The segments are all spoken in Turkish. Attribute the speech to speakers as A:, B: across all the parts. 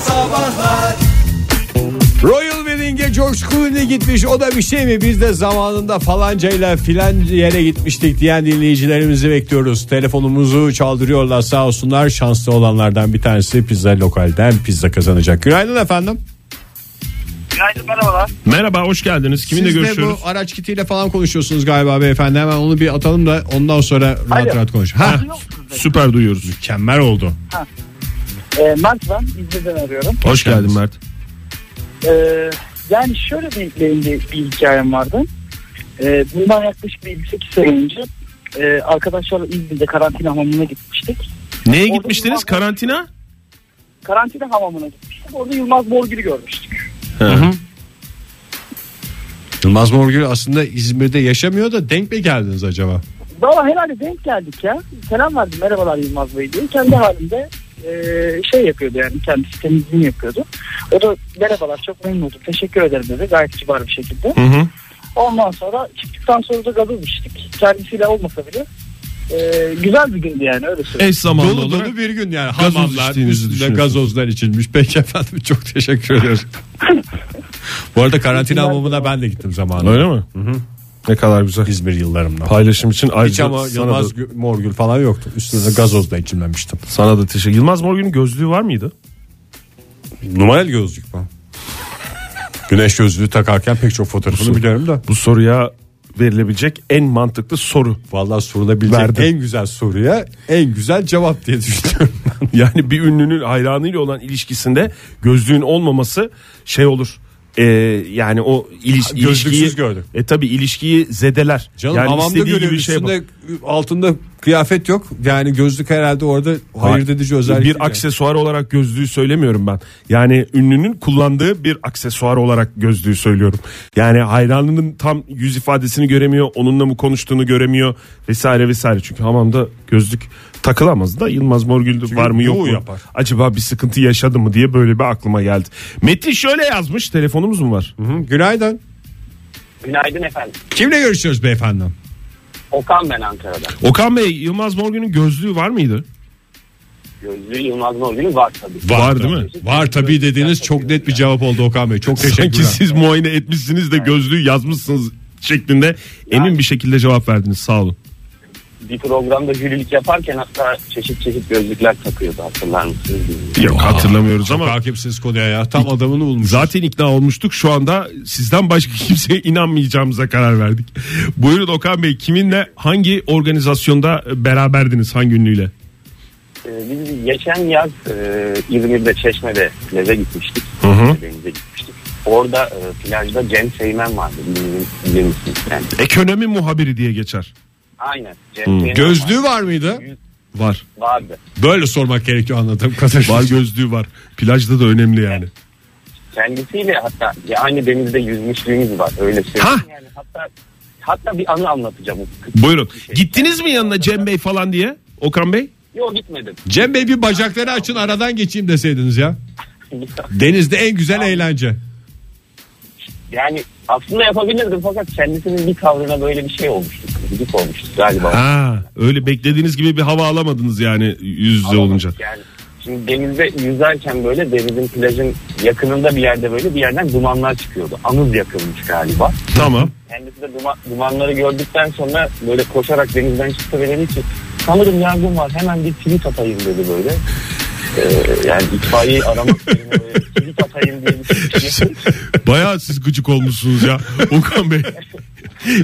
A: Sabahlar
B: Royal Wedding'e George Clooney gitmiş o da bir şey mi? Biz de zamanında falancayla filan yere gitmiştik diyen dinleyicilerimizi bekliyoruz. Telefonumuzu çaldırıyorlar sağ olsunlar. Şanslı olanlardan bir tanesi pizza lokalden pizza kazanacak. Günaydın efendim.
C: Günaydın merhabalar.
D: Merhaba hoş geldiniz. Kiminle
B: Siz de bu
D: görüşüyoruz?
B: araç kitiyle falan konuşuyorsunuz galiba beyefendi. Hemen onu bir atalım da ondan sonra rahat
C: Alo.
B: rahat konuşalım. Ha,
C: Duyuyor musunuz beni?
D: Süper duyuyoruz.
B: mükemmel oldu.
C: Ee, Mert ben İzmir'den arıyorum.
D: Hoş geldin Mert.
C: Ee, yani şöyle bir, benim de bir hikayem vardı. Ee, bundan yaklaşık bir 8 sene önce e, arkadaşlarla İzmir'de karantina hamamına gitmiştik.
D: Neye
C: Orada
D: gitmiştiniz?
C: Yılmaz-
D: Karantina?
C: Karantina hamamına gitmiştik. Orada Yılmaz Morgül'ü görmüştük.
B: Yılmaz Morgül aslında İzmir'de yaşamıyor da denk mi geldiniz acaba?
C: Valla herhalde denk geldik ya. Selam verdim merhabalar Yılmaz Bey diye. Kendi halinde e, şey yapıyordu yani kendisi temizliğini yapıyordu. O da merhabalar çok memnun oldum teşekkür ederim dedi gayet kibar bir şekilde.
D: Hı hı.
C: Ondan sonra çıktıktan sonra da gazoz içtik. Kendisiyle olmasa bile e, güzel bir gündü yani öyle söyleyeyim.
D: Eş zamanlı
B: Dolu
D: olarak.
B: dolu bir gün yani.
D: gazoz
B: Hamamlar
D: içtiğinizi
B: üstünde
D: düşünüyorsunuz.
B: gazozlar içilmiş. Peki efendim çok teşekkür ediyoruz. Bu arada karantina hamamına ben de gittim zamanında.
D: Öyle mi? Ne kadar güzel.
B: İzmir yıllarımda.
D: Paylaşım için
B: Hiç
D: ayrıca
B: ama
D: sana,
B: Yılmaz
D: da,
B: Gö- Morgül falan yoktu. Üstüne de gazozla içimlemiştim.
D: sana da teşekkür. Yılmaz Morgül'ün gözlüğü var mıydı?
B: Numaralı gözlük mü? Güneş gözlüğü takarken pek çok fotoğrafını biliyorum da.
D: Bu soruya verilebilecek en mantıklı soru.
B: Vallahi sorulabilecek
D: Verdim.
B: en güzel soruya en güzel cevap diye düşünüyorum. ben.
D: Yani bir ünlünün hayranıyla olan ilişkisinde gözlüğün olmaması şey olur. Ee, yani o iliş,
B: Gözlüksüz
D: ilişkiyi
B: gördüm.
D: E tabi ilişkiyi zedeler.
B: Canım
D: yani
B: hamamda
D: istediği
B: görüyorum
D: gibi şey
B: üstünde
D: yapar.
B: altında kıyafet yok. Yani gözlük herhalde orada hayır şey dedici özellik.
D: bir aksesuar olarak gözlüğü söylemiyorum ben. Yani ünlünün kullandığı bir aksesuar olarak gözlüğü söylüyorum. Yani hayranının tam yüz ifadesini göremiyor, onunla mı konuştuğunu göremiyor vesaire vesaire. Çünkü hamamda gözlük takılamaz da Yılmaz Morgül var mı yok
B: bu
D: mu?
B: yapar.
D: Acaba bir sıkıntı yaşadı mı diye böyle bir aklıma geldi. Metin şöyle yazmış. Telefonumuz mu var?
B: Hı, Günaydın.
E: Günaydın efendim.
B: Kimle görüşüyoruz beyefendi?
E: Okan ben Ankara'dan.
D: Okan Bey Yılmaz Morgül'ün gözlüğü var mıydı?
E: Gözlüğü Yılmaz Morgül'ün var tabii.
D: Var değil mi?
B: Var tabii dediğiniz çok net bir cevap oldu Okan Bey. Çok
D: Sanki
B: teşekkürler.
D: siz muayene etmişsiniz de gözlüğü yazmışsınız şeklinde emin bir şekilde cevap verdiniz. Sağ olun.
E: Bir programda jürilik yaparken hatta çeşit çeşit gözlükler takıyordu hatırlar mısınız? bilmiyorum.
D: Yok hatırlamıyoruz ama
B: Hakimsiniz konuya ya. Tam adamını bulmuş.
D: zaten ikna olmuştuk. Şu anda sizden başka kimseye inanmayacağımıza karar verdik. Buyurun Okan Bey kiminle hangi organizasyonda beraberdiniz hangi ünlüyle?
E: Ee, biz geçen yaz e, İzmir'de Çeşme'de plaja gitmiştik. Denize gitmiştik. Orada e, plajda Cem Seymen vardı. Bilmiyorum, bilir misiniz? Yani,
D: Ekonomi muhabiri diye geçer.
E: aynen. Cem Seymen
B: Gözlüğü
E: vardı.
B: var mıydı?
D: Var.
E: vardı.
B: Böyle sormak gerekiyor anladığım kadarıyla.
D: Var gözlüğü var. Plajda da önemli yani.
E: Kendisiyle hatta ya aynı denizde yüzmüşlüğümüz var. Öyle söyleyeyim. Yani hatta hatta bir anı anlatacağım.
D: Buyurun. Gittiniz mi yanına Cem Bey falan diye Okan Bey?
E: Yok gitmedim.
B: Cem Bey bir bacakları açın aradan geçeyim deseydiniz ya. Denizde en güzel eğlence.
E: Yani aslında yapabilirdim fakat kendisinin bir tavrına böyle bir şey olmuştu. Gıdık olmuştu galiba.
D: Ha, öyle beklediğiniz gibi bir hava alamadınız yani yüz yüze olunca.
E: Yani şimdi denizde yüzerken böyle denizin plajın yakınında bir yerde böyle bir yerden dumanlar çıkıyordu. Anız yakılmış galiba.
D: Tamam.
E: Kendisi de duma- dumanları gördükten sonra böyle koşarak denizden çıktı ve dedi ki sanırım yangın var hemen bir tweet atayım dedi böyle. Ee, yani itfaiyeyi aramak yerine böyle tweet atayım diye bir şey.
D: Bayağı siz gıcık olmuşsunuz ya Okan Bey.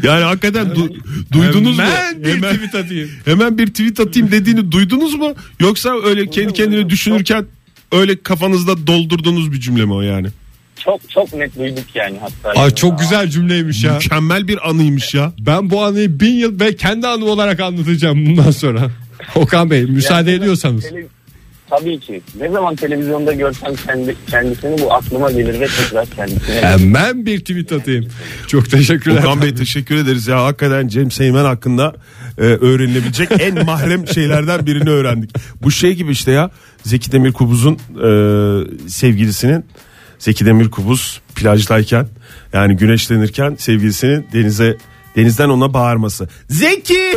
D: Yani hakikaten du- duydunuz
B: Hemen
D: mu?
B: bir
D: hemen,
B: tweet atayım.
D: hemen bir tweet atayım dediğini duydunuz mu? Yoksa öyle kendi
E: Duydum,
D: kendini
E: duydum.
D: düşünürken öyle kafanızda doldurduğunuz bir cümle mi o yani?
E: Çok çok net duyduk yani hatta.
B: Ay çok güzel cümleymiş ya.
D: Mükemmel bir anıymış ya.
B: Ben bu anıyı bin yıl ve kendi anım olarak anlatacağım bundan sonra. Okan Bey müsaade ediyorsanız.
E: Tele- Tabii ki. Ne zaman televizyonda görsem kendi, kendisini bu aklıma gelir ve tekrar kendisine.
B: Hemen bir tweet atayım. Çok teşekkürler.
D: Okan Bey teşekkür ederiz ya. Hakikaten Cem Seymen hakkında e, öğrenilebilecek en mahrem şeylerden birini öğrendik. Bu şey gibi işte ya Zeki Demirkubuz'un e, sevgilisinin Zeki Demirkubuz plajdayken yani güneşlenirken sevgilisinin denize denizden ona bağırması. Zeki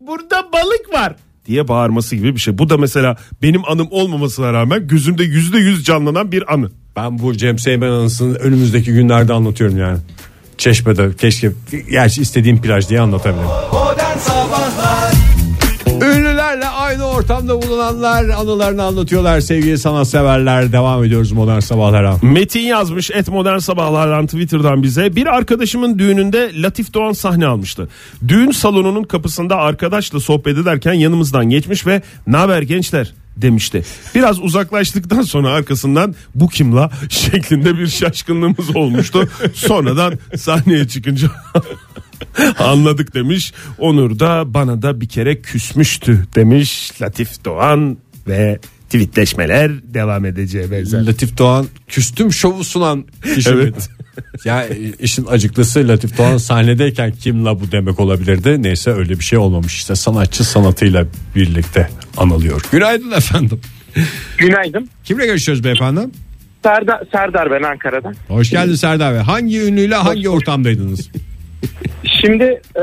D: burada balık var. diye bağırması gibi bir şey. Bu da mesela benim anım olmamasına rağmen gözümde yüzde yüz canlanan bir anı.
B: Ben bu Cem Seymen anısını önümüzdeki günlerde anlatıyorum yani. Çeşme'de keşke gerçi istediğim plaj diye anlatabilirim. Ünlülerle aynı ortamda bulunanlar anılarını anlatıyorlar sevgili sanatseverler. Devam ediyoruz modern sabahlara.
D: Metin yazmış et modern sabahlardan Twitter'dan bize. Bir arkadaşımın düğününde Latif Doğan sahne almıştı. Düğün salonunun kapısında arkadaşla sohbet ederken yanımızdan geçmiş ve ne haber gençler demişti. Biraz uzaklaştıktan sonra arkasından bu kimla şeklinde bir şaşkınlığımız olmuştu. Sonradan sahneye çıkınca anladık demiş. Onur da bana da bir kere küsmüştü demiş Latif Doğan ve tweetleşmeler devam edeceğe benzer.
B: Latif Doğan küstüm şovu sunan kişi
D: Evet.
B: miydi? ya e, işin acıklısı Latif Doğan sahnedeyken kim la bu demek olabilirdi. Neyse öyle bir şey olmamış işte sanatçı sanatıyla birlikte anılıyor. Günaydın efendim.
A: Günaydın.
B: Kimle görüşüyoruz beyefendi?
A: Serdar, Serdar ben Ankara'dan.
B: Hoş geldin Serdar Bey. Hangi ünlüyle hangi ortamdaydınız?
A: Şimdi e,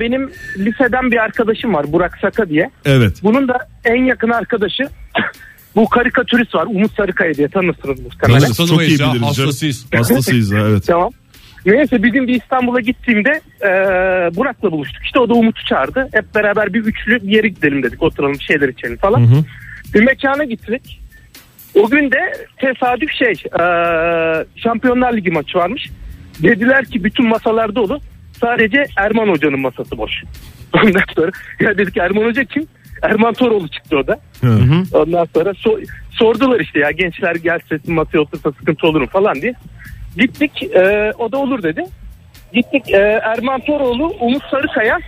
A: benim liseden bir arkadaşım var Burak Saka diye.
D: Evet.
A: Bunun da en yakın arkadaşı bu karikatürist var Umut Sarıkaya diye tanırsınız muhtemelen.
D: Tanırız, çok iyi
B: Tanımayız ya,
D: biliriz. canım.
B: hastasıyız.
D: Hastasıyız ha, evet.
A: Tamam. Neyse bir gün bir İstanbul'a gittiğimde e, Burak'la buluştuk. İşte o da Umut'u çağırdı. Hep beraber bir üçlü bir yere gidelim dedik. Oturalım bir şeyler içelim falan. Bir mekana gittik. O gün de tesadüf şey e, Şampiyonlar Ligi maçı varmış. Dediler ki bütün masalar dolu. Sadece Erman Hoca'nın masası boş. Ondan sonra ya dedik Erman Hoca kim? Erman Toroğlu çıktı o da. Ondan sonra so- sordular işte ya gençler gelse masaya otursa sıkıntı olur mu falan diye. Gittik e, o da olur dedi. Gittik e, Erman Toroğlu, Umut Sarıkaya,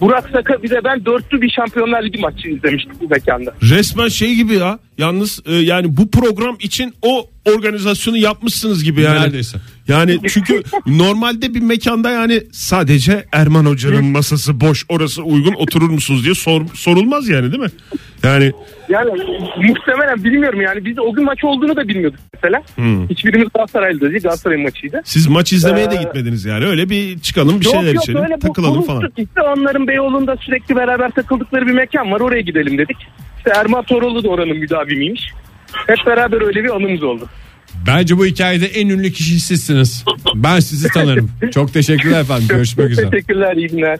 A: Burak Saka bir de ben dörtlü bir Şampiyonlar Ligi maçı izlemiştik bu mekanda.
D: Resmen şey gibi ya. Yalnız e, yani bu program için o organizasyonu yapmışsınız gibi yani.
B: Neredeyse.
D: Yani çünkü normalde bir mekanda yani sadece Erman Hoca'nın masası boş orası uygun oturur musunuz diye sor- sorulmaz yani değil mi? Yani
A: Yani muhtemelen bilmiyorum yani biz o gün maç olduğunu da bilmiyorduk mesela.
D: Hmm.
A: Hiçbirimiz Galatasaraylı değil Galatasaray maçıydı.
D: siz maç izlemeye de
A: Ee,
D: gitmediniz yani öyle bir çıkalım bir şeyler içelim
A: böyle bu-
D: takılalım
A: buluştuk
D: falan.
A: işte onların Beyoğlu'nda sürekli beraber takıldıkları bir mekan var oraya gidelim dedik. İşte Erman Toroğlu da oranın müdavimiymiş. Hep beraber öyle bir anımız oldu.
B: Bence bu hikayede en ünlü kişi sizsiniz. Ben sizi tanırım. Çok teşekkürler efendim. Görüşmek üzere.
A: Teşekkürler iyi günler.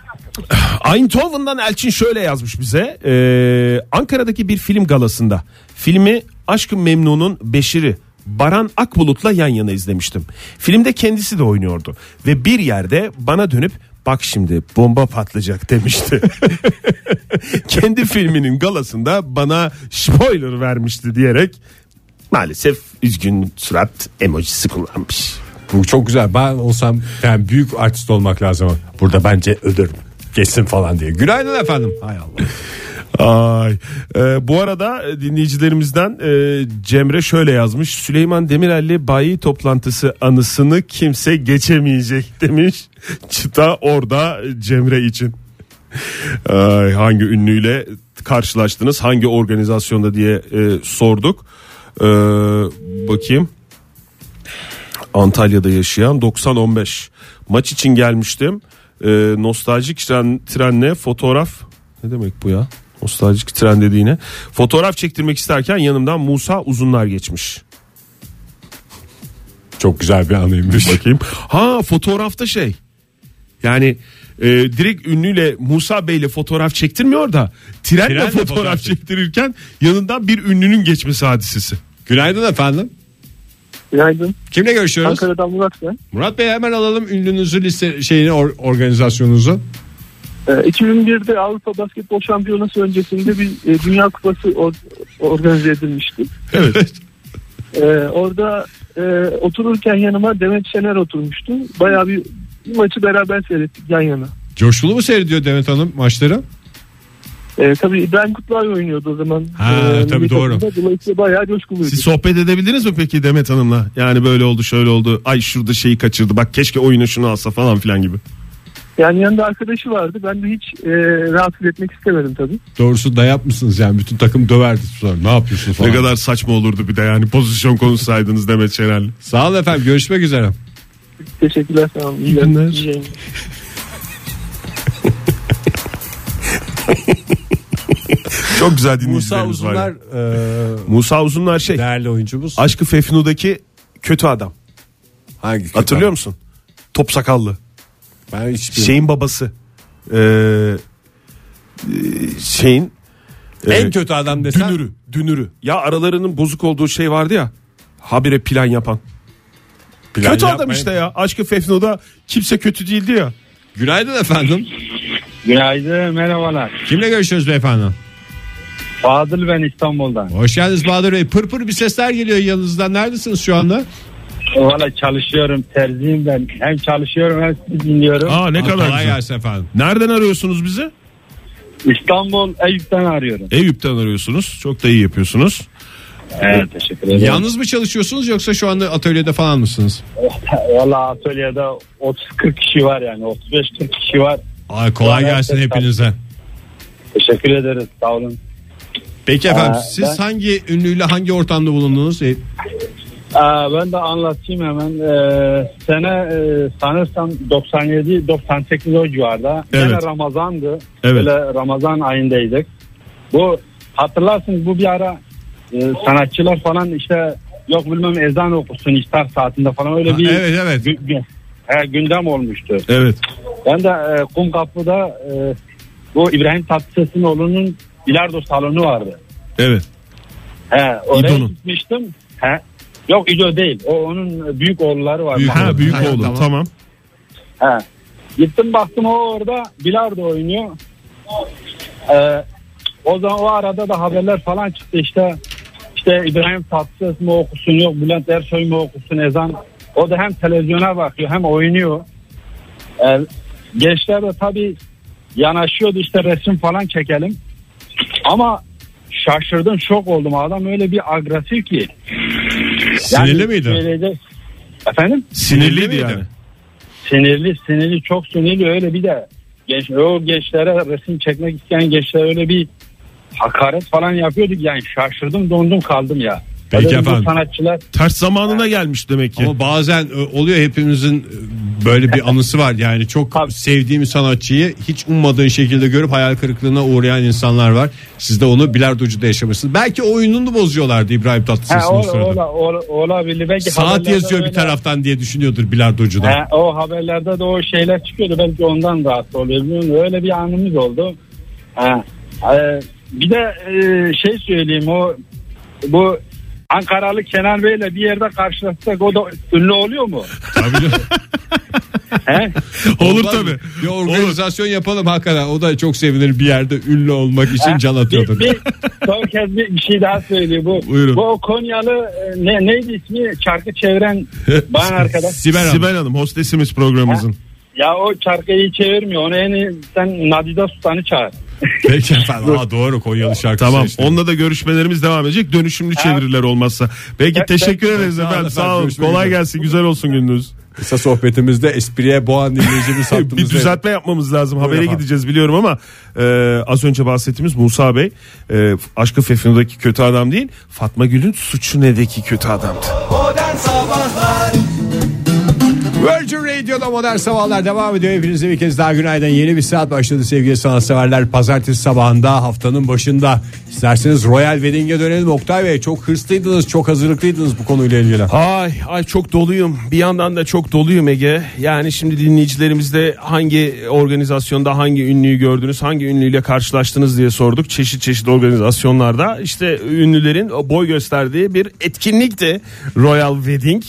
D: Eindhoven'dan Elçin şöyle yazmış bize. Ee, Ankara'daki bir film galasında filmi Aşkı Memnun'un Beşir'i Baran Akbulut'la yan yana izlemiştim. Filmde kendisi de oynuyordu ve bir yerde bana dönüp bak şimdi bomba patlayacak demişti. Kendi filminin galasında bana spoiler vermişti diyerek maalesef üzgün surat emojisi kullanmış.
B: Bu çok güzel. Ben olsam yani büyük artist olmak lazım. Burada bence ölürüm. Geçsin falan diye. Günaydın efendim. Hay Allah.
D: Ay. Ee, bu arada dinleyicilerimizden e, Cemre şöyle yazmış. Süleyman Demirel'li bayi toplantısı anısını kimse geçemeyecek demiş. Çıta orada Cemre için. Ay, hangi ünlüyle karşılaştınız? Hangi organizasyonda diye e, sorduk. Ee, bakayım. Antalya'da yaşayan 90-15 maç için gelmiştim. Ee, nostaljik tren, trenle fotoğraf ne demek bu ya? Nostaljik tren dediğine. Fotoğraf çektirmek isterken yanımdan Musa Uzunlar geçmiş.
B: Çok güzel bir anıymış.
D: Bakayım. Ha fotoğrafta şey. Yani e, direkt ünlüyle Musa Bey'le fotoğraf çektirmiyor da trenle,
B: Trenle
D: fotoğraf,
B: fotoğraf çek-
D: çektirirken yanından bir ünlünün geçmesi hadisesi.
B: Günaydın efendim.
C: Günaydın.
B: Kimle görüşüyoruz?
C: Ankara'dan Murat ben.
B: Murat Bey hemen alalım ünlünüzü liste şeyini or- organizasyonunuzu.
C: Ee, 2001'de Avrupa Basketbol Şampiyonası öncesinde bir e, Dünya Kupası or- organize edilmişti.
D: Evet.
C: Ee, orada e, otururken yanıma Demet Şener oturmuştu. Bayağı bir, bir maçı beraber seyrettik yan yana.
B: Coşkulu mu seyrediyor Demet Hanım maçları?
C: Ee, tabii İbrahim Kutluay oynuyordu o zaman.
B: Ha,
C: Ee,
B: tabii
C: milli
B: doğru.
C: takımda. Dolayısıyla bayağı coşkuluydu.
D: Siz sohbet edebildiniz mi peki Demet Hanım'la? Yani böyle oldu şöyle oldu. Ay şurada şeyi kaçırdı. Bak keşke oyunu şunu alsa falan filan gibi.
C: Yani yanında arkadaşı vardı. Ben de hiç e, rahatsız etmek istemedim tabii.
B: Doğrusu dayap mısınız yani bütün takım döverdi. sonra. Ne yapıyorsun falan.
D: Ne kadar saçma olurdu bir de yani pozisyon konuşsaydınız Demet Şener'le.
B: Sağ olun efendim görüşmek üzere.
C: Teşekkürler sağ olun. İyi
D: günler.
C: iyi yayınlar.
D: Çok güzel
B: Musa
D: dinleyicilerimiz var.
B: Uzunlar
D: ya. Musa Uzunlar
B: e,
D: şey.
B: değerli oyuncumuz.
D: Aşkı Fefnu'daki kötü adam.
B: Hangi kötü
D: Hatırlıyor
B: adam?
D: musun? Top sakallı.
B: Ben hiç bilmiyorum.
D: Şeyin babası. Ee, şeyin
B: en
D: e,
B: kötü adam desen.
D: dünürü. Dünürü. Ya aralarının bozuk olduğu şey vardı ya. Habire plan yapan.
B: Plan
D: kötü adam
B: yapmayın.
D: işte ya. Aşkı Fefnu'da kimse kötü değildi ya.
B: Günaydın efendim.
F: Günaydın merhabalar.
B: Kimle görüşüyoruz beyefendi?
F: Fadıl ben İstanbul'dan.
B: Hoş geldiniz Bahadır Bey. Pırpır bir sesler geliyor yanınızdan. Neredesiniz şu anda?
F: Valla çalışıyorum terziyim ben. Hem çalışıyorum hem sizi dinliyorum.
D: Aa ne kadar
B: Kolay
D: güzel.
B: gelsin efendim.
D: Nereden arıyorsunuz bizi?
F: İstanbul Eyüp'ten arıyorum.
D: Eyüp'ten arıyorsunuz. Çok da iyi yapıyorsunuz.
F: Evet teşekkür ederim.
B: Yalnız mı çalışıyorsunuz yoksa şu anda atölyede falan mısınız?
F: Valla atölyede 30-40 kişi var yani 35-40 kişi var.
B: Ay, kolay
F: Kolay
B: gelsin
F: gelsin.
B: hepinize.
F: Teşekkür ederiz sağ olun.
B: Peki efendim
F: Aa,
B: siz
F: ben-
B: hangi ünlüyle hangi ortamda bulundunuz? E,
F: Aa, Ee, ben de anlatayım hemen. Ee, sene e, sanırsam 97-98 o civarda.
D: Evet.
F: Gene Ramazan'dı.
D: Evet.
F: Böyle Ramazan ayındaydık. Bu hatırlarsınız bu bir ara e, sanatçılar falan işte yok bilmem ezan okusun iftar saatinde falan öyle
B: ha,
F: bir
B: evet evet.
F: gü- gü- he, gündem olmuştu.
D: Evet.
F: Ben de e, Kumkapı'da e, bu İbrahim Tatlıses'in oğlunun bilardo salonu vardı.
D: Evet.
F: He, oraya
D: İdo'nun.
F: gitmiştim. He. Yok İdo değil. O onun büyük oğulları var.
B: Büyük
D: Ha
B: oğlu.
D: büyük
B: Ha,
D: oğlu.
B: tamam.
D: Tamam.
F: He. Gittim baktım o orada bilardo oynuyor. Ee, o zaman o arada da haberler falan çıktı işte. işte İbrahim Tatlıses mi okusun yok Bülent Ersoy mu okusun ezan. O da hem televizyona bakıyor hem oynuyor. Ee, gençler de tabii yanaşıyordu işte resim falan çekelim. Ama şaşırdım şok oldum adam öyle bir agresif ki.
B: Sinirli miydi?
F: söyleyecek- Efendim?
D: Sinirliydi
B: miydi?
D: yani.
F: Sinirli sinirli çok sinirli öyle bir de genç, o gençlere resim çekmek isteyen gençlere öyle bir hakaret falan yapıyorduk yani şaşırdım dondum kaldım ya.
B: Peki
F: Tabii bu
B: efendim.
F: Sanatçılar
D: Ters zamanına gelmiş demek ki.
B: Ama bazen e, oluyor hepimizin e, böyle bir anısı var. Yani çok
F: Tabii.
B: sevdiğim sanatçıyı hiç ummadığın şekilde görüp hayal kırıklığına uğrayan insanlar var. Siz de onu bilardocuda yaşamışsınız. Belki oyununu bozuyorlardı İbrahim
F: ha,
B: Tatlıses'in
F: o,
B: o sırada.
F: ola, ola, olabilir. Belki
B: Saat
F: haberlerde
B: yazıyor bir
F: öyle-
B: taraftan diye düşünüyordur bilardocuda.
F: Ha, o haberlerde de o şeyler çıkıyordu. Belki ondan rahatsız oluyor. Bilmiyorum. Öyle bir anımız oldu. Ha. e, bir de e, şey söyleyeyim o bu Ankaralı Kenan Bey'le bir yerde karşılaşsak o da ünlü oluyor mu? He?
D: Olur
B: Ondan
D: tabii.
B: Bir organizasyon yapalım hakikaten. O da çok sevinir bir yerde ünlü olmak için can
F: bir,
B: atıyordur.
F: bir, son kez bir, bir şey daha söyleyeyim. Bu,
D: Buyurun.
F: bu o Konyalı e, ne, neydi ismi? Çarkı çeviren bayan arkadaş.
D: Sibel Hanım. Sibel Hanım hostesimiz programımızın.
F: Ya o çarkı iyi çevirmiyor. Onu en iyi sen Nadide Sultan'ı çağır.
B: Peki efendim. Aa, doğru Konyalı şarkısı.
D: Tamam.
B: işte.
D: Onunla da görüşmelerimiz devam edecek. Dönüşümlü çeviriler olmazsa. Peki
F: Ben-
D: teşekkür ederiz
B: Sağ olun
D: efendim.
B: efendim,
D: Sağ olun.
B: görüşmek
D: Kolay
B: üzere.
D: gelsin. Güzel olsun gününüz.
B: Kısa sohbetimizde espriye boğan dinleyicimiz
D: bir
B: hattımızda.
D: düzeltme yapmamız lazım. Habere
B: efendim.
D: gideceğiz biliyorum ama e, az önce bahsettiğimiz Musa Bey e, Aşkı Fefnu'daki kötü adam değil. Fatma Gül'ün Suçu Ne'deki kötü adamdı.
B: Virgin Radio'da modern sabahlar devam ediyor. Hepinize bir kez daha günaydın. Yeni bir saat başladı sevgili sanatseverler. Pazartesi sabahında haftanın başında. İsterseniz Royal Wedding'e dönelim Oktay Bey. Çok hırslıydınız, çok hazırlıklıydınız bu konuyla ilgili.
D: Ay ay çok doluyum. Bir yandan da çok doluyum Ege. Yani şimdi dinleyicilerimizde hangi organizasyonda hangi ünlüyü gördünüz, hangi ünlüyle karşılaştınız diye sorduk. Çeşit çeşit organizasyonlarda işte ünlülerin boy gösterdiği bir etkinlikti Royal Wedding.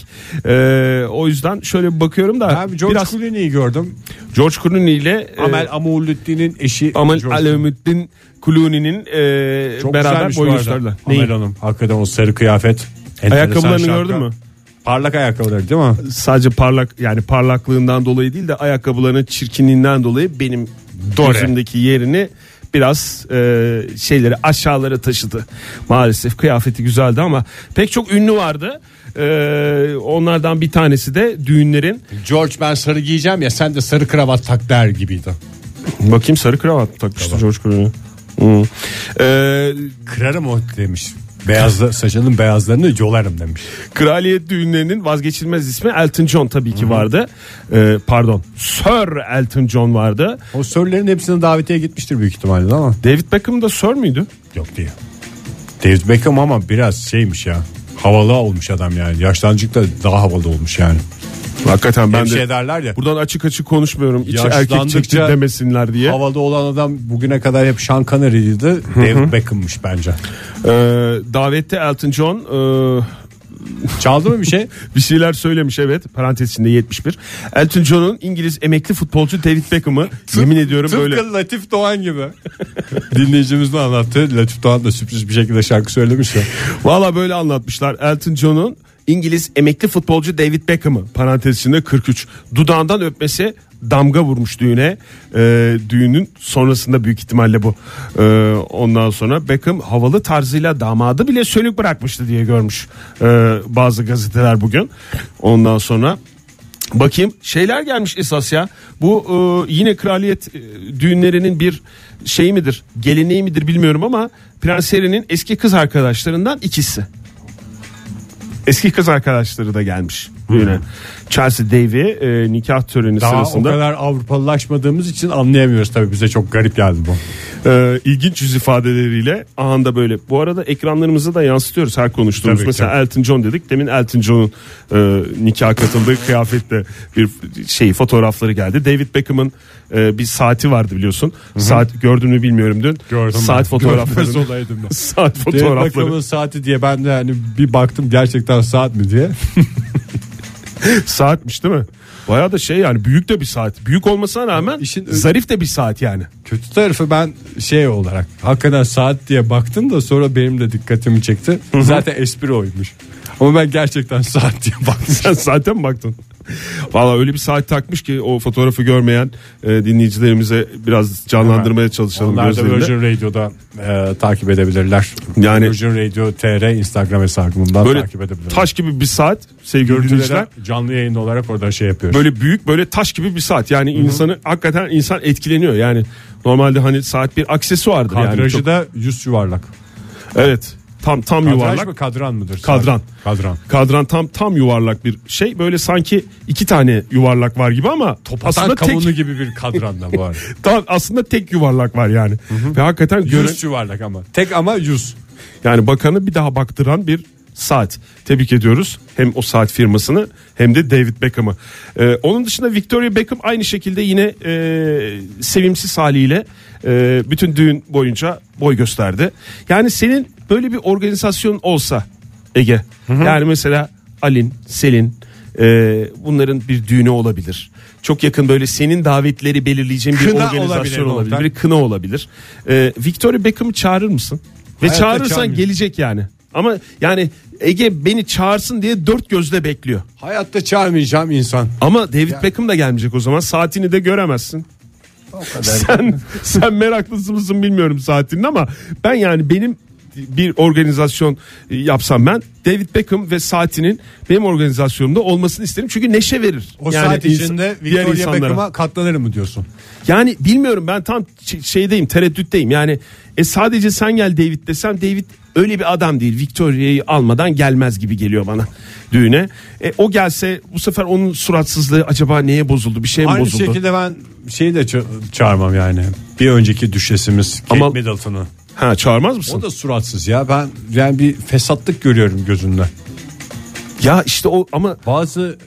D: Ee, o yüzden şöyle bir bakıyorum da
B: Ben George
D: biraz
B: Clooney'i gördüm.
D: George Clooney ile e,
B: Amel Amoullüddin'in eşi
D: Amel
B: George Clooney.
D: Alemüddin Clooney'nin e,
B: Çok
D: beraber
B: güzelmiş bu
D: boy
B: arada.
D: gösterdiler. Neyi?
B: Amel Hanım. Hakikaten o sarı kıyafet. enteresan
D: Ayakkabılarını
B: şapka.
D: gördün mü?
B: Parlak ayakkabıları değil mi?
D: sadece parlak yani parlaklığından dolayı değil de ayakkabılarının çirkinliğinden dolayı benim gözümdeki yerini biraz e, şeyleri aşağılara taşıdı. Maalesef kıyafeti güzeldi ama pek çok ünlü vardı. E, onlardan bir tanesi de düğünlerin
B: George ben sarı giyeceğim ya sen de sarı kravat tak der gibiydi.
D: bakayım sarı kravat takmıştı George Clooney. Hmm. E,
B: Kırarım o demiş. Beyazla, saçının beyazlarını yolarım demiş.
D: Kraliyet düğünlerinin vazgeçilmez ismi Elton John tabii ki vardı. Ee, pardon Sir Elton John vardı.
B: O soruların hepsine davetiye gitmiştir büyük ihtimalle ama.
D: David Beckham da Sir müydü?
B: Yok diye. David Beckham ama biraz şeymiş ya. Havalı olmuş adam yani. Yaşlancık da daha havalı olmuş yani.
D: Hakikaten ben
B: Hemşire
D: de
B: derler ya.
D: buradan açık açık konuşmuyorum. İçi erkek
B: Yaşlandıkça-
D: çekti demesinler diye.
B: Havalı olan adam bugüne kadar hep Sean Connery'ydi. David Beckham'mış bence.
D: Ee, davette Elton John e,
B: Çaldı mı bir şey?
D: bir şeyler söylemiş evet parantez içinde 71. Elton John'un İngiliz emekli futbolcu David Beckham'ı yemin ediyorum
B: Tıpkı
D: böyle
B: Latif Doğan gibi. Dinleyicimiz de anlattı. Latif Doğan da sürpriz bir şekilde şarkı söylemiş ya.
D: Valla böyle anlatmışlar. Elton John'un İngiliz emekli futbolcu David Beckham'ı parantez içinde 43 dudağından öpmesi damga vurmuş düğüne. Ee, düğünün sonrasında büyük ihtimalle bu. Ee, ondan sonra Beckham havalı tarzıyla damadı bile sönük bırakmıştı diye görmüş ee, bazı gazeteler bugün. Ondan sonra Bakayım şeyler gelmiş esas ya. Bu e, yine kraliyet e, düğünlerinin bir şeyi midir, geleneği midir bilmiyorum ama Prens Harry'nin eski kız arkadaşlarından ikisi. Eski kız arkadaşları da gelmiş düğüne. Chelsea Davy e, nikah töreni
B: Daha
D: sırasında
B: o kadar Avrupalılaşmadığımız için anlayamıyoruz tabii. Bize çok garip geldi bu.
D: e, ilginç yüz ifadeleriyle anında böyle. Bu arada ekranlarımızı da yansıtıyoruz her konuştuğumuz.
B: Tabii,
D: Mesela
B: tabii.
D: Elton John dedik. Demin Elton John'un e, nikah katıldığı kıyafetle bir şey fotoğrafları geldi. David Beckham'ın e, bir saati vardı biliyorsun. Saat gördün mü bilmiyorum dün.
B: Gördüm
D: saat
B: ben.
D: fotoğrafları.
B: Görmez olaydım ben.
D: saat
B: David
D: fotoğrafları.
B: Beckham'ın Ee, saati diye ben de hani bir baktım gerçekten saat mi diye.
D: Saatmiş değil mi? Bayağı da şey yani büyük de bir saat. Büyük olmasına rağmen
B: İşin-
D: zarif de bir saat yani.
B: Kötü tarafı ben şey olarak hakikaten saat diye baktım da sonra benim de dikkatimi çekti. Zaten espri oymuş. Ama ben gerçekten saat diye baktım.
D: Sen zaten mi baktın. Valla öyle bir saat takmış ki o fotoğrafı görmeyen e, dinleyicilerimize biraz canlandırmaya çalışalım
B: Onlar da
D: gözlerinde.
B: Virgin Radio'da e, takip edebilirler.
D: Yani-
B: Virgin Radio TR Instagram hesabından
D: Böyle
B: takip edebilirler.
D: taş gibi bir saat sevgili dinleyiciler.
B: Görüntülere canlı yayın olarak orada şey yapıyoruz.
D: Böyle büyük böyle taş gibi bir saat. Yani insanı hakikaten insan etkileniyor. Yani normalde hani saat bir aksesuardır yani.
B: Kadrajı
D: Çok-
B: da yüz yuvarlak.
D: evet. Tam tam
B: Kadraj
D: yuvarlak.
B: mı kadran mıdır?
D: Kadran.
B: Kadran.
D: Kadran tam tam yuvarlak bir şey. Böyle sanki iki tane yuvarlak var gibi ama aslında
B: Aslında
D: tek
B: kavunu gibi bir kadranla bu arada.
D: tam, aslında tek yuvarlak var yani. Ve hakikaten gören
B: Yüz yuvarlak ama. Tek ama yüz.
D: Yani bakanı bir daha baktıran bir saat. Tebrik ediyoruz hem o saat firmasını hem de David Beckham'ı. Ee, onun dışında Victoria Beckham aynı şekilde yine e, sevimsiz haliyle e, bütün düğün boyunca boy gösterdi. Yani senin böyle bir organizasyon olsa Ege yani mesela Alin, Selin e, bunların bir düğünü olabilir. Çok yakın böyle senin davetleri belirleyeceğin bir
B: Kına olabilir
D: organizasyon
B: mi
D: olabilir.
B: oradan?
D: Bir kına olabilir. Ee, Victoria Beckham'ı çağırır mısın? Ve
B: Hayatta
D: çağırırsan
B: çağırmayacağım.
D: gelecek yani. Ama yani Ege beni çağırsın diye dört gözle bekliyor.
B: Hayatta çağırmayacağım insan.
D: Ama David Beckham da gelmeyecek o zaman. Saatini de göremezsin. Sen sen meraklısı mısın bilmiyorum saatinin ama ben yani benim bir organizasyon yapsam ben David Beckham ve saatinin benim organizasyonumda olmasını isterim. Çünkü neşe verir.
B: O
D: Yani
B: saat
D: ins-
B: içinde
D: diğer
B: Victoria
D: insanlara.
B: Beckham'a katlanır mı diyorsun?
D: Yani bilmiyorum ben tam ç- şeydeyim tereddütteyim yani e sadece sen gel David desem David öyle bir adam değil Victoria'yı almadan gelmez gibi geliyor bana düğüne. E, o gelse bu sefer onun suratsızlığı acaba neye bozuldu bir şey mi
B: Aynı
D: bozuldu?
B: şekilde ben şeyi de ça- çağırmam yani. Bir önceki düşesimiz Kate
D: Ama-
B: Middleton'ı.
D: Ha çağırmaz mısın?
B: O da suratsız ya. Ben yani bir fesatlık görüyorum gözünde.
D: Ya işte o ama
B: Bazı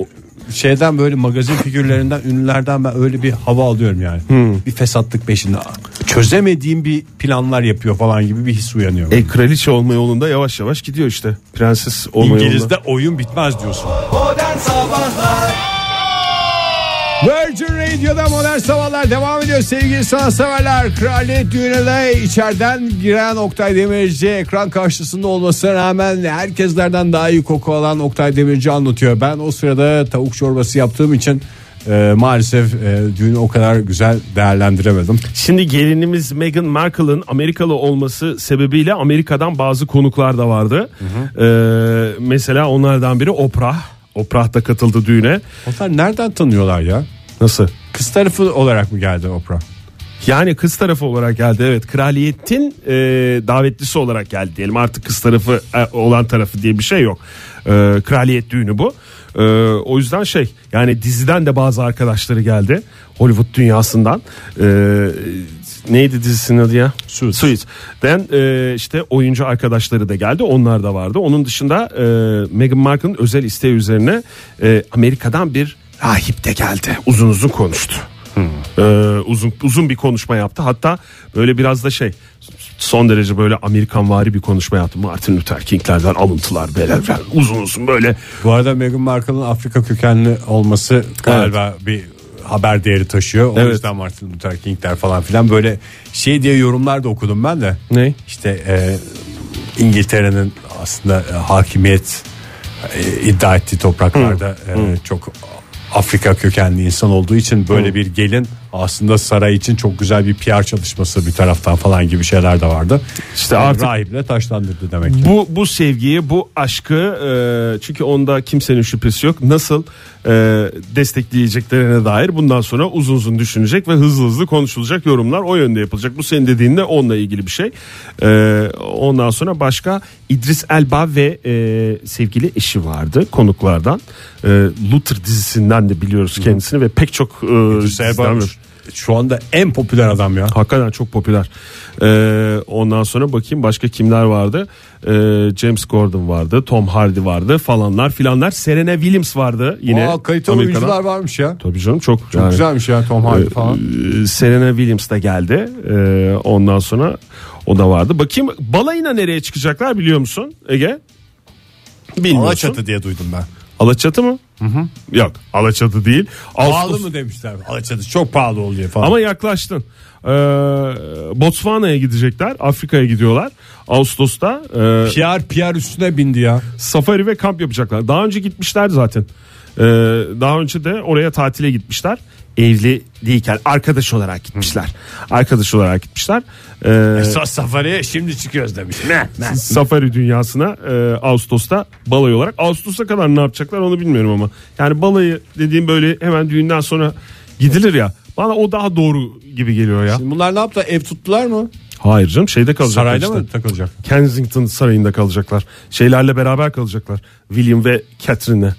B: şeyden böyle magazin figürlerinden ünlülerden ben öyle bir hava alıyorum yani.
D: Hmm.
B: Bir fesatlık peşinde. Çözemediğim bir planlar yapıyor falan gibi bir his uyanıyor.
D: e, kraliçe olma yolunda yavaş yavaş gidiyor işte. Prenses olma yolunda.
B: İngiliz'de oyun bitmez diyorsun. Virgin Radio'da Modern Sabahlar devam ediyor sevgili sanatseverler. Kraliyet düğününe içeriden giren Oktay Demirci ekran karşısında olmasına rağmen herkeslerden daha iyi koku alan Oktay Demirci anlatıyor. Ben o sırada tavuk çorbası yaptığım için e, maalesef e, düğünü o kadar güzel değerlendiremedim.
D: Şimdi gelinimiz Meghan Markle'ın Amerikalı olması sebebiyle Amerika'dan bazı konuklar da vardı. E, mesela onlardan biri Oprah. Oprah da katıldı düğüne.
B: Onlar nereden tanıyorlar ya?
D: Nasıl?
B: Kız tarafı olarak mı geldi Oprah?
D: Yani kız tarafı olarak geldi evet kraliyetin e, davetlisi olarak geldi diyelim artık kız tarafı e, olan tarafı diye bir şey yok. E, kraliyet düğünü bu. E, o yüzden şey yani diziden de bazı arkadaşları geldi Hollywood dünyasından. E, neydi dizisinin adı ya? Suits. Den e, işte oyuncu arkadaşları da geldi onlar da vardı. Onun dışında e, Meghan Markle'ın özel isteği üzerine e, Amerika'dan bir rahip de geldi uzun uzun konuştu. Ee, uzun uzun bir konuşma yaptı. Hatta böyle biraz da şey son derece böyle Amerikanvari bir konuşma yaptı. Martin Luther King'lerden alıntılar böyle uzun uzun böyle
B: Bu arada Meghan Markle'ın Afrika kökenli olması galiba bir haber değeri taşıyor. O
D: Evet.
B: yüzden Martin Luther King'ler falan filan böyle şey diye yorumlar da okudum ben de.
D: Ne?
B: İşte e, İngiltere'nin aslında e, hakimiyet e, iddia ettiği topraklarda e, çok Afrika kökenli insan olduğu için böyle bir gelin aslında saray için çok güzel bir PR çalışması bir taraftan falan gibi şeyler de vardı.
D: İşte
B: Yani
D: artık-
B: rahiple taşlandırdı demek ki.
D: bu bu sevgiyi, bu aşkı e, çünkü onda kimsenin şüphesi yok. Nasıl e, destekleyeceklerine dair bundan sonra uzun uzun düşünecek ve hızlı hızlı konuşulacak yorumlar o yönde yapılacak. Bu senin dediğin de onunla ilgili bir şey. E, ondan sonra başka İdris Elba ve e, sevgili eşi vardı konuklardan. E, Luther dizisinden de biliyoruz kendisini ve pek çok e, diziden
B: Serba
D: ve-
B: şu anda en popüler adam ya.
D: Hakikaten çok popüler. Ee, ondan sonra bakayım başka kimler vardı? Ee, James Gordon vardı, Tom Hardy vardı falanlar filanlar. Serena Williams vardı yine.
B: Aa, kaliteli
D: Amerika'dan.
B: oyuncular varmış ya.
D: Tabii canım çok,
B: Çok güzelmiş ya Tom Hardy falan.
D: Ee, Serena Williams da geldi. Ee, ondan sonra o da vardı. Bakayım balayına nereye çıkacaklar biliyor musun Ege? Bilmiyorsun.
B: Alaçatı diye duydum ben.
D: Alaçatı mı? Yok Alaçatı değil.
B: Pahalı
D: Ağustos-
B: mı demişler? Alaçatı çok pahalı oluyor falan.
D: Ama yaklaştın. Ee, Botswana'ya gidecekler. Afrika'ya gidiyorlar. Ağustos'ta e,
B: PR PR üstüne bindi ya.
D: safari ve kamp yapacaklar. Daha önce gitmişler zaten. Ee, daha önce de oraya tatile gitmişler. Evli değilken arkadaş olarak gitmişler. Arkadaş olarak gitmişler. Ee,
B: Esas safariye şimdi çıkıyoruz demiş.
D: safari dünyasına e, Ağustos'ta balayı olarak. Ağustos'a kadar ne yapacaklar onu bilmiyorum ama. Yani balayı dediğim böyle hemen düğünden sonra gidilir ya. Bana o daha doğru gibi geliyor ya.
B: Bunlar ne yaptı? Ev tuttular mı?
D: Hayır canım şeyde kalacaklar
B: Sarayda
D: işte.
B: mı takılacak?
D: Kensington Sarayı'nda kalacaklar. Şeylerle beraber kalacaklar. William ve Catherine'le.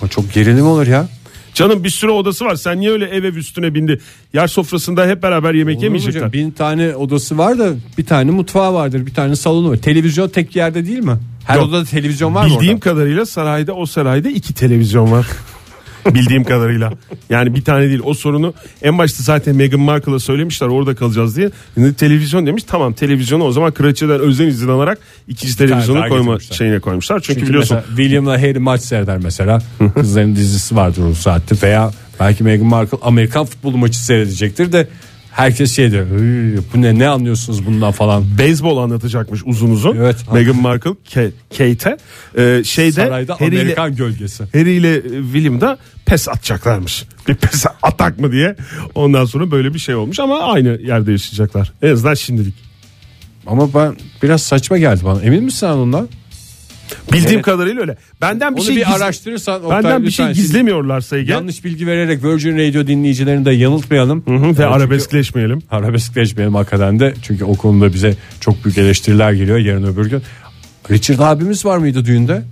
B: Ama çok gerilim olur ya.
D: Canım bir sürü odası var. Sen niye öyle ev ev üstüne bindi? Yer sofrasında hep beraber yemek yemeyecekler.
B: Bin tane odası var da bir tane mutfağı vardır, bir tane salonu var. Televizyon tek yerde değil mi? Her
D: Yok.
B: odada televizyon var mı
D: Bildiğim
B: orada?
D: kadarıyla sarayda o sarayda iki televizyon var. Bildiğim kadarıyla. Yani bir tane değil. O sorunu en başta zaten Meghan Markle'a söylemişler orada kalacağız diye. Şimdi televizyon demiş. Tamam televizyonu o zaman kraliçeden özel izin alarak ikinci televizyonu
B: daha
D: koyma
B: getirmişler.
D: şeyine koymuşlar. Çünkü,
B: Çünkü
D: biliyorsun
B: mesela William'la Harry maç seyreder mesela. Kızların dizisi vardır o saatte veya belki Meghan Markle Amerikan futbolu maçı seyredecektir de herkes şey diyor. "Üy, Bu ne ne anlıyorsunuz bundan falan.
D: beyzbol anlatacakmış uzun uzun.
B: Evet.
D: Meghan Markle Ke- Kate'e Ee, şeyde
B: Sarayda
D: Harry ile,
B: Amerikan gölgesi.
D: Harry ile e, William da pes atacaklarmış. Bir pes atak mı diye. Ondan sonra böyle bir şey olmuş ama aynı yerde yaşayacaklar. En azından şimdilik.
B: Ama ben biraz saçma geldi bana. Emin misin sen ondan?
D: Bildiğim kadarıyla öyle. Benden bir
B: Onu
D: şey
B: bir
D: giz-
B: araştırırsan Oktay,
D: Benden bir
B: lütfen
D: şey
B: şimdi
D: gizlemiyorlarsa Ege.
B: Yanlış bilgi vererek Virgin Radio dinleyicilerini de yanıltmayalım.
D: Hı,
B: Yani
D: ve
B: çünkü
D: arabeskleşmeyelim.
B: Arabeskleşmeyelim hakikaten de. Çünkü o konuda bize çok büyük eleştiriler geliyor yarın öbür gün. Richard abimiz var mıydı düğünde?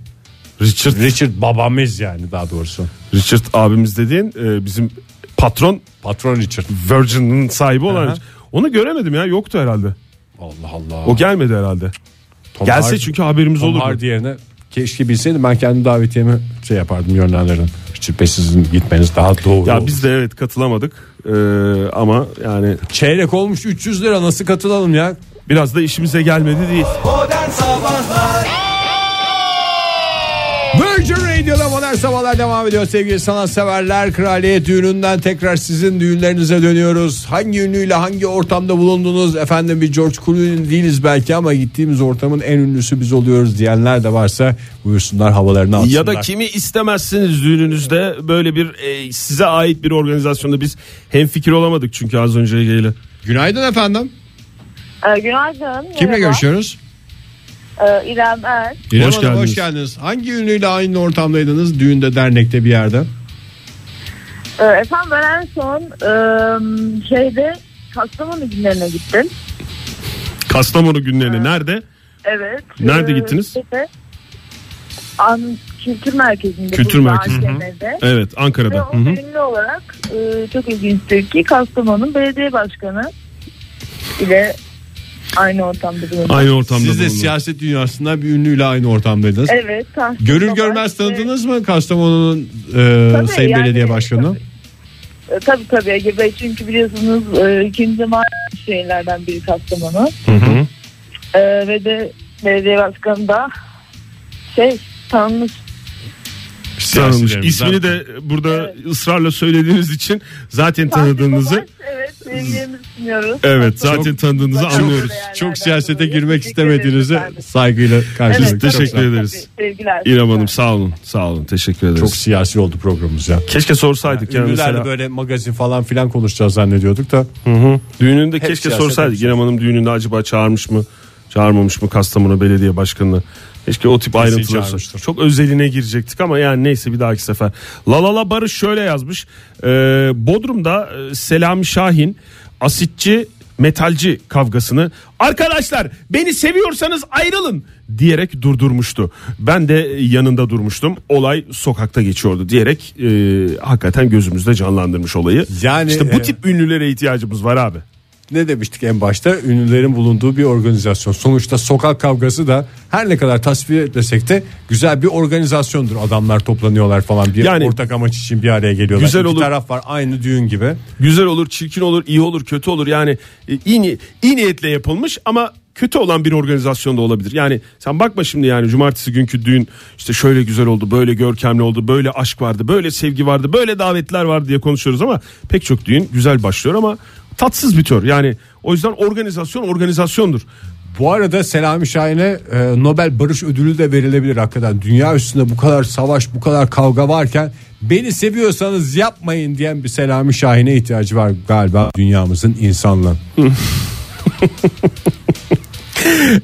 D: Richard
B: Richard babamız yani daha doğrusu.
D: Richard abimiz dediğin e, bizim patron
B: Patron Richard.
D: Virgin'in sahibi olan.
B: Aha.
D: Richard. Onu göremedim ya yoktu herhalde.
B: Allah Allah.
D: O gelmedi herhalde. Gelse
B: Hardy-
D: çünkü haberimiz
B: Tom
D: olur.
B: Hardy yerine keşke bilseydim ben kendi davetiyemi şey yapardım yönlendirirdim. Richard Bey sizin gitmeniz daha doğru.
D: Ya
B: olur.
D: biz de evet katılamadık. E, ama yani
B: Çeyrek olmuş 300 lira nasıl katılalım ya?
D: biraz da işimize gelmedi değil.
B: Virgin Radio'da modern sabahlar devam ediyor sevgili sanatseverler. Kraliyet düğününden tekrar sizin düğünlerinize dönüyoruz. Hangi ünlüyle hangi ortamda bulundunuz? Efendim bir George Clooney değiliz belki ama gittiğimiz ortamın en ünlüsü biz oluyoruz diyenler de varsa buyursunlar havalarını atsınlar.
D: Ya da kimi istemezsiniz düğününüzde böyle bir e, size ait bir organizasyonda biz hem fikir olamadık çünkü az önce Ege'yle.
B: Günaydın efendim.
G: Ee, günaydın.
B: Kimle
G: merhaba.
B: görüşüyoruz?
G: Ee, İrem Er.
B: İrem e,
D: Hoş
B: Hanım,
D: geldiniz.
B: hoş geldiniz. Hangi ünlüyle aynı ortamdaydınız? Düğünde, dernekte bir yerde.
G: Ee, efendim ben en son e, şeyde Kastamonu günlerine gittim.
D: Kastamonu günlerini nerede?
G: Evet. Ee,
D: Nerede gittiniz?
G: şeyde, An kültür merkezinde.
D: Kültür
G: burada
D: merkezi.
G: AKM'de.
D: Evet
G: Ve
D: Ankara'da.
G: o ünlü olarak e, çok ilginçtir ki Kastamonu'nun belediye başkanı ile aynı ortamda bulundu.
D: Aynı ortamda
B: Siz de
D: bulundunuz.
B: siyaset dünyasından bir ünlüyle aynı ortamdaydınız.
G: Evet. Tahsin
B: Görür
G: Savaş
B: görmez
G: ve-
B: tanıdınız mı Kastamonu'nun e,
G: Tabii,
B: Sayın
G: yani-
B: Belediye Başkanı?
G: E, Tabii tabii Ege Bey çünkü biliyorsunuz e, ikinci mali şehirlerden biri Kastamonu. E, ve de belediye başkanı da şey tanınmış.
D: Tanınmış.
B: Siyasilerimiz,
D: İsmini de burada ısrarla söylediğiniz için zaten tanıdığınızı.
G: Tahsin Savaş, Evet sevgilerimizi sunuyoruz.
D: Evet zaten tanıdığınızı
G: Çok-
D: anlıyoruz.
B: Çok
G: Yerlerden
B: siyasete
G: dolayı
B: girmek
G: teşekkür
B: istemediğinizi
G: ederiz efendim.
B: saygıyla karşıladık.
G: Evet,
B: Çok
D: teşekkür
B: sağ olun.
D: ederiz.
G: Tabii, sevgiler.
D: İrem Hanım sağ olun. Sağ olun. Teşekkür ederiz.
B: Çok siyasi oldu programımız ya.
D: Keşke sorsaydık yani
B: Ünlülerle
D: mesela.
B: böyle magazin falan filan konuşacağız zannediyorduk da.
D: Düğününde
B: Hep
D: keşke
B: siyaset
D: sorsaydık.
B: konuşuyoruz.
D: İrem Hanım düğününde acaba çağırmış mı? Çağırmamış mı Kastamonu Belediye Başkanı'nı? Keşke o tip ayrıntılar
B: çağırmıştır.
D: Çok özeline girecektik ama yani neyse bir dahaki sefer. La La La Barış şöyle yazmış. Ee, Bodrum'da e, Selami Şahin asitçi metalci kavgasını arkadaşlar beni seviyorsanız ayrılın diyerek durdurmuştu. Ben de yanında durmuştum. Olay sokakta geçiyordu diyerek e, hakikaten gözümüzde canlandırmış olayı.
B: Yani,
D: işte bu
B: e,
D: tip ünlülere ihtiyacımız var abi.
B: Ne demiştik en başta? Ünlülerin bulunduğu bir organizasyon. Sonuçta sokak kavgası da her ne kadar tasvir etmesek de güzel bir organizasyondur. Adamlar toplanıyorlar falan bir
D: Yani-
B: ortak amaç için bir araya geliyorlar.
D: Güzel
B: İki
D: olur.
B: taraf var aynı düğün gibi.
D: Güzel olur, çirkin olur, iyi olur, kötü olur. Yani e, iyi, ni- iyi niyetle yapılmış ama kötü olan bir organizasyon da olabilir. Yani sen bakma şimdi yani cumartesi günkü düğün işte şöyle güzel oldu, böyle görkemli oldu, böyle aşk vardı, böyle sevgi vardı, böyle davetler vardı diye konuşuyoruz ama pek çok düğün güzel başlıyor ama tatsız bitiyor. Yani o yüzden organizasyon organizasyondur.
B: Bu arada Selami Şahin'e e, Nobel Barış Ödülü de verilebilir hakikaten. Dünya üstünde bu kadar savaş, bu kadar kavga varken beni seviyorsanız yapmayın diyen bir Selami Şahin'e ihtiyacı var galiba dünyamızın insanlığı.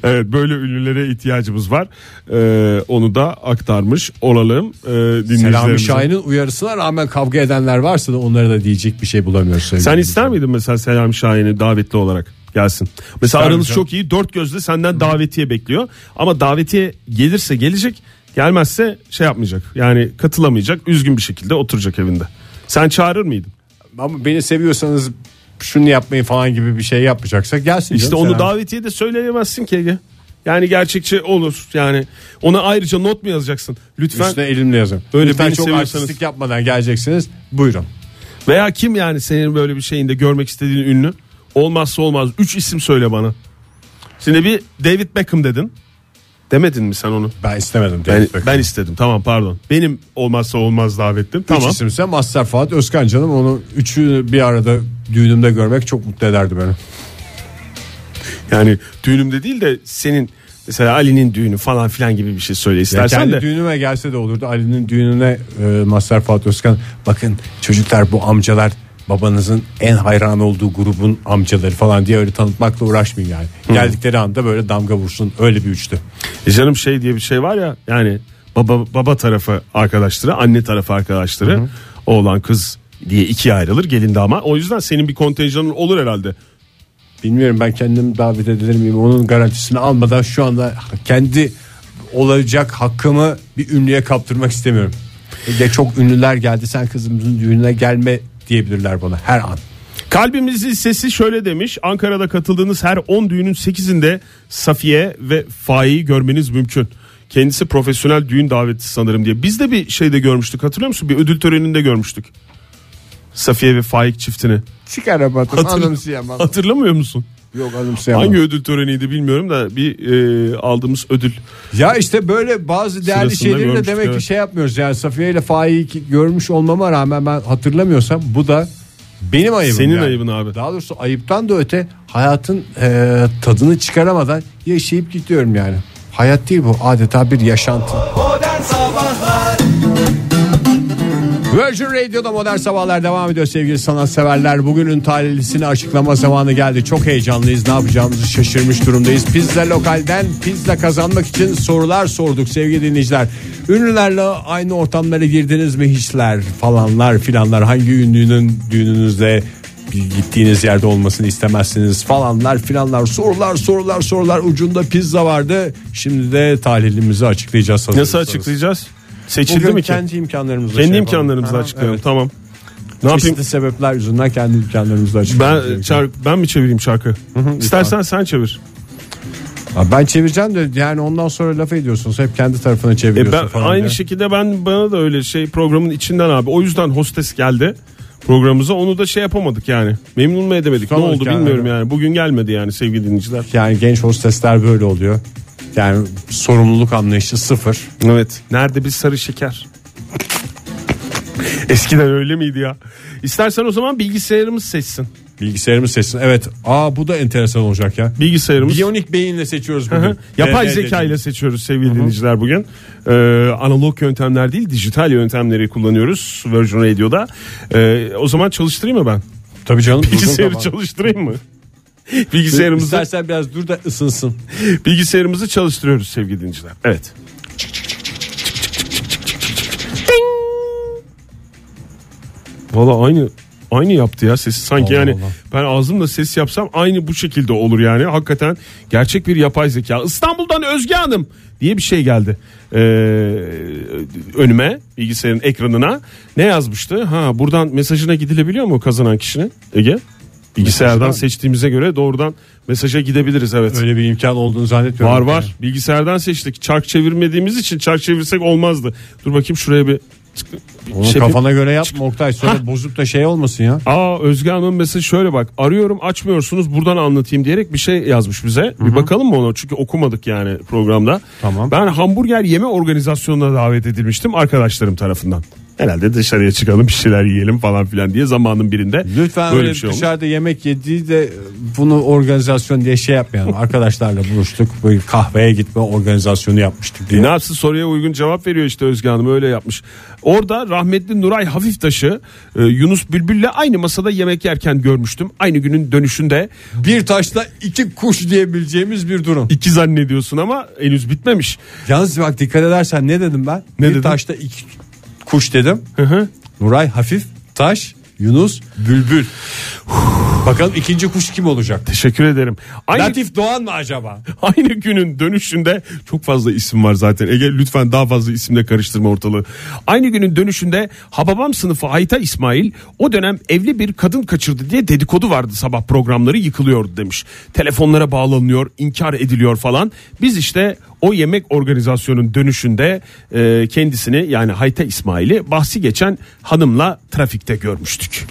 D: Evet böyle ünlülere ihtiyacımız var. Ee, onu da aktarmış olalım ee,
B: Selami
D: dinleyicilerimize.
B: Şahin'in uyarısına rağmen kavga edenler varsa da onlara da diyecek bir şey bulamıyoruz. sevgili
D: Sen
B: dinleyiciler.
D: ister miydin mesela Selami Şahin'i davetli olarak gelsin? Mesela
B: İsterim
D: aranız
B: canım.
D: çok iyi. Dört gözle senden davetiye bekliyor. Ama davetiye gelirse gelecek, gelmezse şey yapmayacak. Yani katılamayacak, üzgün bir şekilde oturacak evinde. Sen çağırır mıydın?
B: Ama beni seviyorsanız şunu yapmayın falan gibi bir şey yapmayacaksa gelsin.
D: İşte
B: canım
D: onu
B: Selami.
D: davetiye de söyleyemezsin ki Ege. Yani gerçekçi olur. Yani ona ayrıca not mu yazacaksın? Lütfen
B: Üstüne elimle yazın.
D: Öyle
B: Öyle Lütfen
D: beni
B: çok
D: seviyorsanız-
B: artistlik yapmadan geleceksiniz. Buyurun.
D: Veya kim yani senin böyle bir şeyinde görmek istediğin ünlü? Olmazsa olmaz. Üç isim söyle bana. Şimdi bir David Beckham dedin. Demedin mi sen onu?
B: Ben istemedim.
D: Ben,
B: David Beckham.
D: ben istedim. Tamam pardon. Benim olmazsa olmaz davettim.
B: Üç
D: Tamam.
B: isimse Master Fuat Özkan canım. Onu üçü bir arada düğünümde görmek çok mutlu ederdi beni.
D: Yani düğünümde değil de senin mesela Ali'nin düğünü falan filan gibi bir şey söyle
B: Ya
D: istersen
B: kendi
D: de.
B: düğünüme gelse de olurdu. Ali'nin düğününe e, Master Fuat Özkan bakın çocuklar bu amcalar babanızın en hayran olduğu grubun amcaları falan diye öyle tanıtmakla uğraşmayın yani. Geldikleri anda böyle damga vursun öyle bir üçlü.
D: E canım şey diye bir şey var ya yani baba baba tarafı arkadaşları, anne tarafı arkadaşları, oğlan kız diye ikiye ayrılır gelin damat. O yüzden senin bir kontenjanın olur herhalde.
B: Bilmiyorum ben kendim davet edilir miyim onun garantisini almadan şu anda kendi olacak hakkımı bir ünlüye kaptırmak istemiyorum. Bir de çok ünlüler geldi sen kızımızın düğününe gelme diyebilirler bana her an.
D: Kalbimizin sesi şöyle demiş. Ankara'da katıldığınız her 10 düğünün 8'inde Safiye ve Faik'i görmeniz mümkün. Kendisi profesyonel düğün davetçisi sanırım diye. Biz de bir şeyde görmüştük hatırlıyor musun? Bir ödül töreninde görmüştük. Safiye ve Faik çiftini.
B: Çık arabadan
D: Hatırla- Hatırlamıyor musun?
B: Yok anımsayamam.
D: Hangi ödül töreniydi bilmiyorum da bir e, aldığımız ödül.
B: Ya işte böyle bazı değerli
D: Sırasında
B: şeyleri de
D: görmüştük,
B: demek
D: evet.
B: ki şey yapmıyoruz. Yani Safiye ile Faik'i ki- görmüş olmama rağmen ben hatırlamıyorsam bu da benim ayıbım.
D: Senin
B: yani.
D: ayıbın abi.
B: Daha doğrusu ayıptan da öte hayatın eee, tadını çıkaramadan yaşayıp gidiyorum yani. Hayat değil bu adeta bir yaşantı. Virgin Radio'da Modern Sabahlar devam ediyor sevgili sanatseverler. Bugünün talihlisini açıklama zamanı geldi. Çok heyecanlıyız. Ne yapacağımızı şaşırmış durumdayız. Pizza lokalden pizza kazanmak için sorular sorduk sevgili dinleyiciler. Ünlülerle aynı ortamlara girdiniz mi hiçler falanlar filanlar hangi ünlünün düğününüzde gittiğiniz yerde olmasını istemezsiniz falanlar filanlar sorular sorular sorular ucunda pizza vardı. Şimdi de tahlilimizi açıklayacağız.
D: Nasıl
B: hazırsanız.
D: açıklayacağız? Seçildi
B: Bugün
D: mi ki?
B: kendi imkanlarımızla
D: Kendi
B: şey yapalım.
D: imkanlarımızla
B: Aha,
D: açıklayalım.
B: evet.
D: Tamam. Ne yapayım?
B: Çeşitli sebepler yüzünden kendi imkanlarımızla açıklayalım.
D: Ben çar- ben mi çevireyim şarkı? İstersen sen çevir.
B: Ha, ben çevireceğim de yani ondan sonra laf ediyorsunuz. Hep kendi tarafına
D: E
B: çeviriyorsun
D: ben
B: falan.
D: aynı
B: diye.
D: şekilde ben bana da öyle şey programın içinden abi. O yüzden hostes geldi programımıza. Onu da şey yapamadık yani. Memnun mu edemedik? ne
B: Tutamadık
D: oldu
B: yani.
D: bilmiyorum yani. Bugün gelmedi yani sevgili dinleyiciler.
B: Yani genç hostesler böyle oluyor. Yani sorumluluk anlayışı sıfır.
D: Evet. Nerede bir sarı şeker? Eskiden öyle miydi ya? İstersen o zaman bilgisayarımız seçsin.
B: Bilgisayarımız sesini. Evet. Aa bu da enteresan olacak ya.
D: Bilgisayarımız.
B: Biyonik beyinle seçiyoruz
D: Hı hı.
B: bugün.
D: Yapay
B: Evet,
D: zeka
B: evet.
D: ile seçiyoruz sevgili dinleyiciler bugün. Ee, analog yöntemler değil dijital yöntemleri kullanıyoruz Virgin Radio'da. Ee, o zaman çalıştırayım mı ben?
B: Tabii canım. durduğun
D: Bilgisayarı
B: zaman.
D: çalıştırayım mı? Bilgisayarımızı,
B: İstersen biraz dur da ısınsın.
D: bilgisayarımızı çalıştırıyoruz sevgili dinleyiciler. Evet. Valla aynı aynı yaptı ya sesi sanki
B: Allah
D: yani
B: Allah.
D: ben ağzımla ses yapsam aynı bu şekilde olur yani hakikaten gerçek bir yapay zeka İstanbul'dan Özge Hanım diye bir şey geldi Ee, önüme bilgisayarın ekranına ne yazmıştı ha buradan mesajına gidilebiliyor mu kazanan kişinin Ege bilgisayardan seçtiğimize göre doğrudan mesaja gidebiliriz evet
B: Öyle bir imkan olduğunu zannetmiyorum.
D: Var var. Bilgisayardan seçtik. Çark çevirmediğimiz için çark çevirsek olmazdı. Dur bakayım şuraya bir
B: Onu
D: şey-
B: kafana göre yapma Oktay. Sonra bozup da şey olmasın ya.
D: Aa Özge Hanım'ın mesajı şöyle bak. Arıyorum açmıyorsunuz buradan anlatayım diyerek bir şey yazmış bize. Bir bakalım mı ona? Çünkü okumadık yani programda.
B: Tamam.
D: Ben hamburger yeme organizasyonuna davet edilmiştim arkadaşlarım tarafından. Herhalde dışarıya çıkalım bir şeyler yiyelim falan filan diye zamanın birinde.
B: Lütfen
D: böyle
B: öyle
D: bir şey olmuş.
B: dışarıda yemek yediği de bunu organizasyon diye şey yapmayalım. Arkadaşlarla buluştuk. Böyle kahveye gitme organizasyonu yapmıştık diye.
D: Ne yapsın soruya uygun cevap veriyor işte Özge Hanım öyle yapmış. Orada rahmetli Nuray Hafiftaş'ı e, Yunus Bülbül'le aynı masada yemek yerken görmüştüm. Aynı günün dönüşünde
B: Bir taşla iki kuş diyebileceğimiz bir durum.
D: iki zannediyorsun ama henüz bitmemiş.
B: Yalnız bak dikkat edersen ne dedim ben?
D: Ne
B: bir
D: dedin?
B: taşta iki kuş dedim.
D: Hı hı.
B: Nuray hafif taş Yunus bülbül. Bakalım ikinci kuş kim olacak?
D: Teşekkür ederim. Aynı,
B: Latif Doğan mı acaba?
D: aynı günün dönüşünde çok fazla isim var zaten. Ege lütfen daha fazla isimle karıştırma ortalığı. Aynı günün dönüşünde Hababam sınıfı Ayta İsmail o dönem evli bir kadın kaçırdı diye dedikodu vardı sabah programları yıkılıyordu demiş. Telefonlara bağlanıyor, inkar ediliyor falan. Biz işte o yemek organizasyonun dönüşünde e, kendisini yani Hayta İsmail'i bahsi geçen hanımla trafikte görmüştük.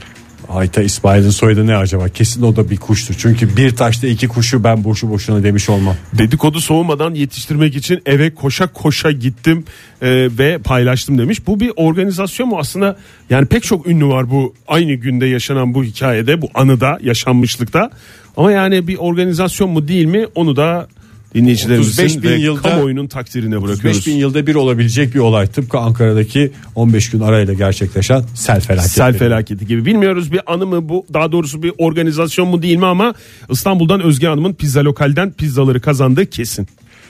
B: Ayta İsmail'in soyadı ne acaba? Kesin o da bir kuştur. Çünkü bir taşta iki kuşu ben boşu boşuna demiş olmam.
D: Dedikodu soğumadan yetiştirmek için eve koşa koşa gittim e, ve paylaştım demiş. Bu bir organizasyon mu aslında? Yani pek çok ünlü var bu aynı günde yaşanan bu hikayede, bu anıda, yaşanmışlıkta. Ama yani bir organizasyon mu değil mi onu da dinleyicilerimizin
B: 35 bin
D: ve
B: yılda-
D: kamuoyunun takdirine bırakıyoruz.
B: 5000 yılda bir olabilecek bir olay. Tıpkı Ankara'daki 15 gün arayla gerçekleşen sel felaketi.
D: Sel felaketi gibi bilmiyoruz bir anı mı bu daha doğrusu bir organizasyon mu değil mi ama İstanbul'dan Özge Hanım'ın pizza lokalden pizzaları kazandığı kesin.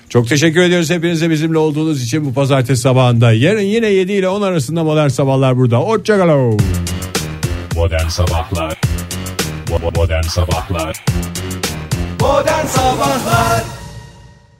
B: Çok teşekkür ediyoruz hepinize bizimle olduğunuz için bu pazartesi sabahında. Yarın yine 7 ile 10 arasında modern sabahlar burada. Hoşçakalın.
H: Modern Sabahlar Bo- bo- Modern Sabahlar
I: Modern Sabahlar